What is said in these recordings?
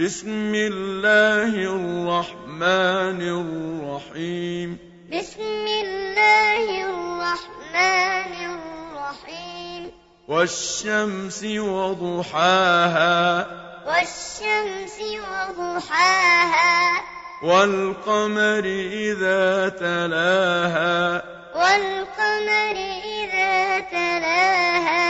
بسم الله الرحمن الرحيم بسم الله الرحمن الرحيم والشمس وضحاها والشمس وضحاها والقمر إذا تلاها والقمر إذا تلاها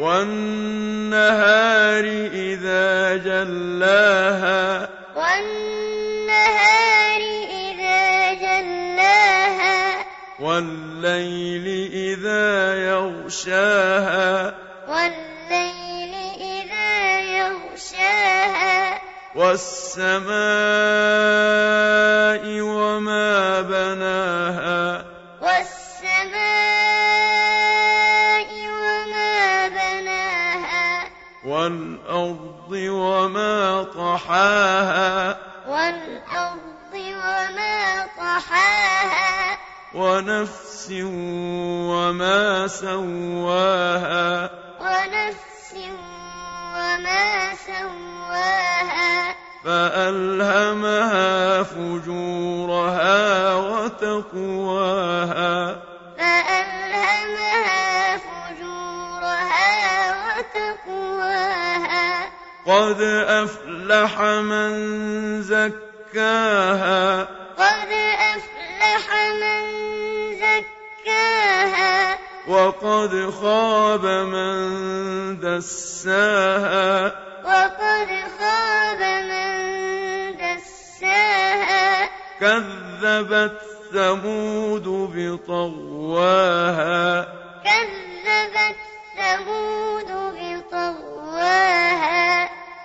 والنهار إذا جلاها والنهار إذا جلاها والليل إذا يغشاها والليل إذا يغشاها والسماء وما بناها والسماء وما بناها والأرض وما طحاها والأرض وما طحاها ونفس وما سواها ونفس وما سواها فألهمها فجورها وتقواها فألهمها فجورها وتقواها قد أفلح من زكاها قد أفلح من زكاها وقد خاب من دساها وقد خاب من دساها كذبت ثمود بطغواها كذبت ثمود بطغواها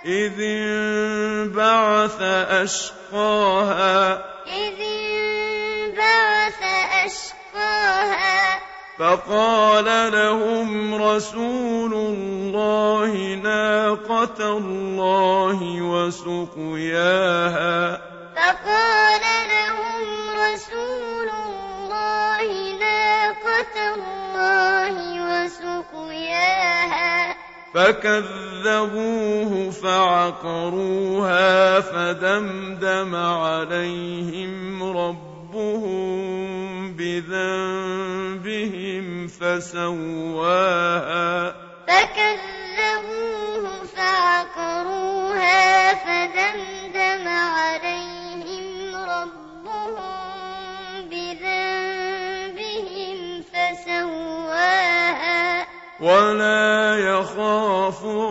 إذ انبعث أشقاها إذ انبعث أشقاها فقال لهم رسول الله ناقة الله وسقياها فقال لهم رسول الله ناقة الله وسقياها فكذبوه فعقروها فدمدم عليهم ربهم بذنبهم فسواها فكذبوه فعقروها فدمدم عليهم ربهم بذنبهم فسواها ولا يخاف